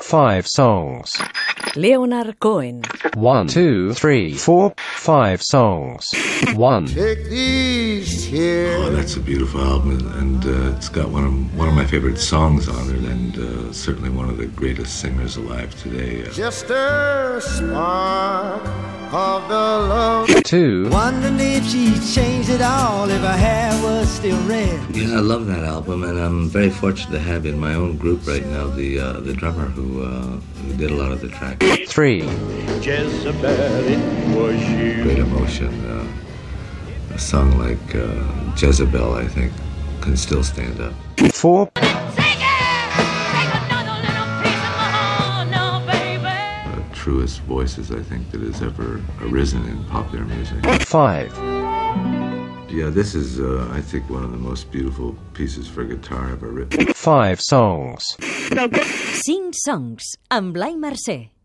five songs. Leonard Cohen, One, two, three, four, five songs. One, Take these here. Well, Oh, that's a beautiful album, and, and uh, it's got one of one of my favorite songs on it, and uh, certainly one of the greatest singers alive today. Uh, Just a spark of the love. two, Wondering if she'd change it all if her hair was still red. yeah, I love that album, and I'm very fortunate to have in my own group right now the uh, the drummer who, uh, who did a lot of the track. three, Jezebel, it was you. Great emotion. Uh, a song like uh, Jezebel, I think, can still stand up. four, Take it! Take another little piece of my heart now, baby. The truest voices I think that has ever arisen in popular music. five, Yeah, this is, uh, I think, one of the most beautiful pieces for guitar ever written. five songs. Sing Songs, amb Blai Mercè.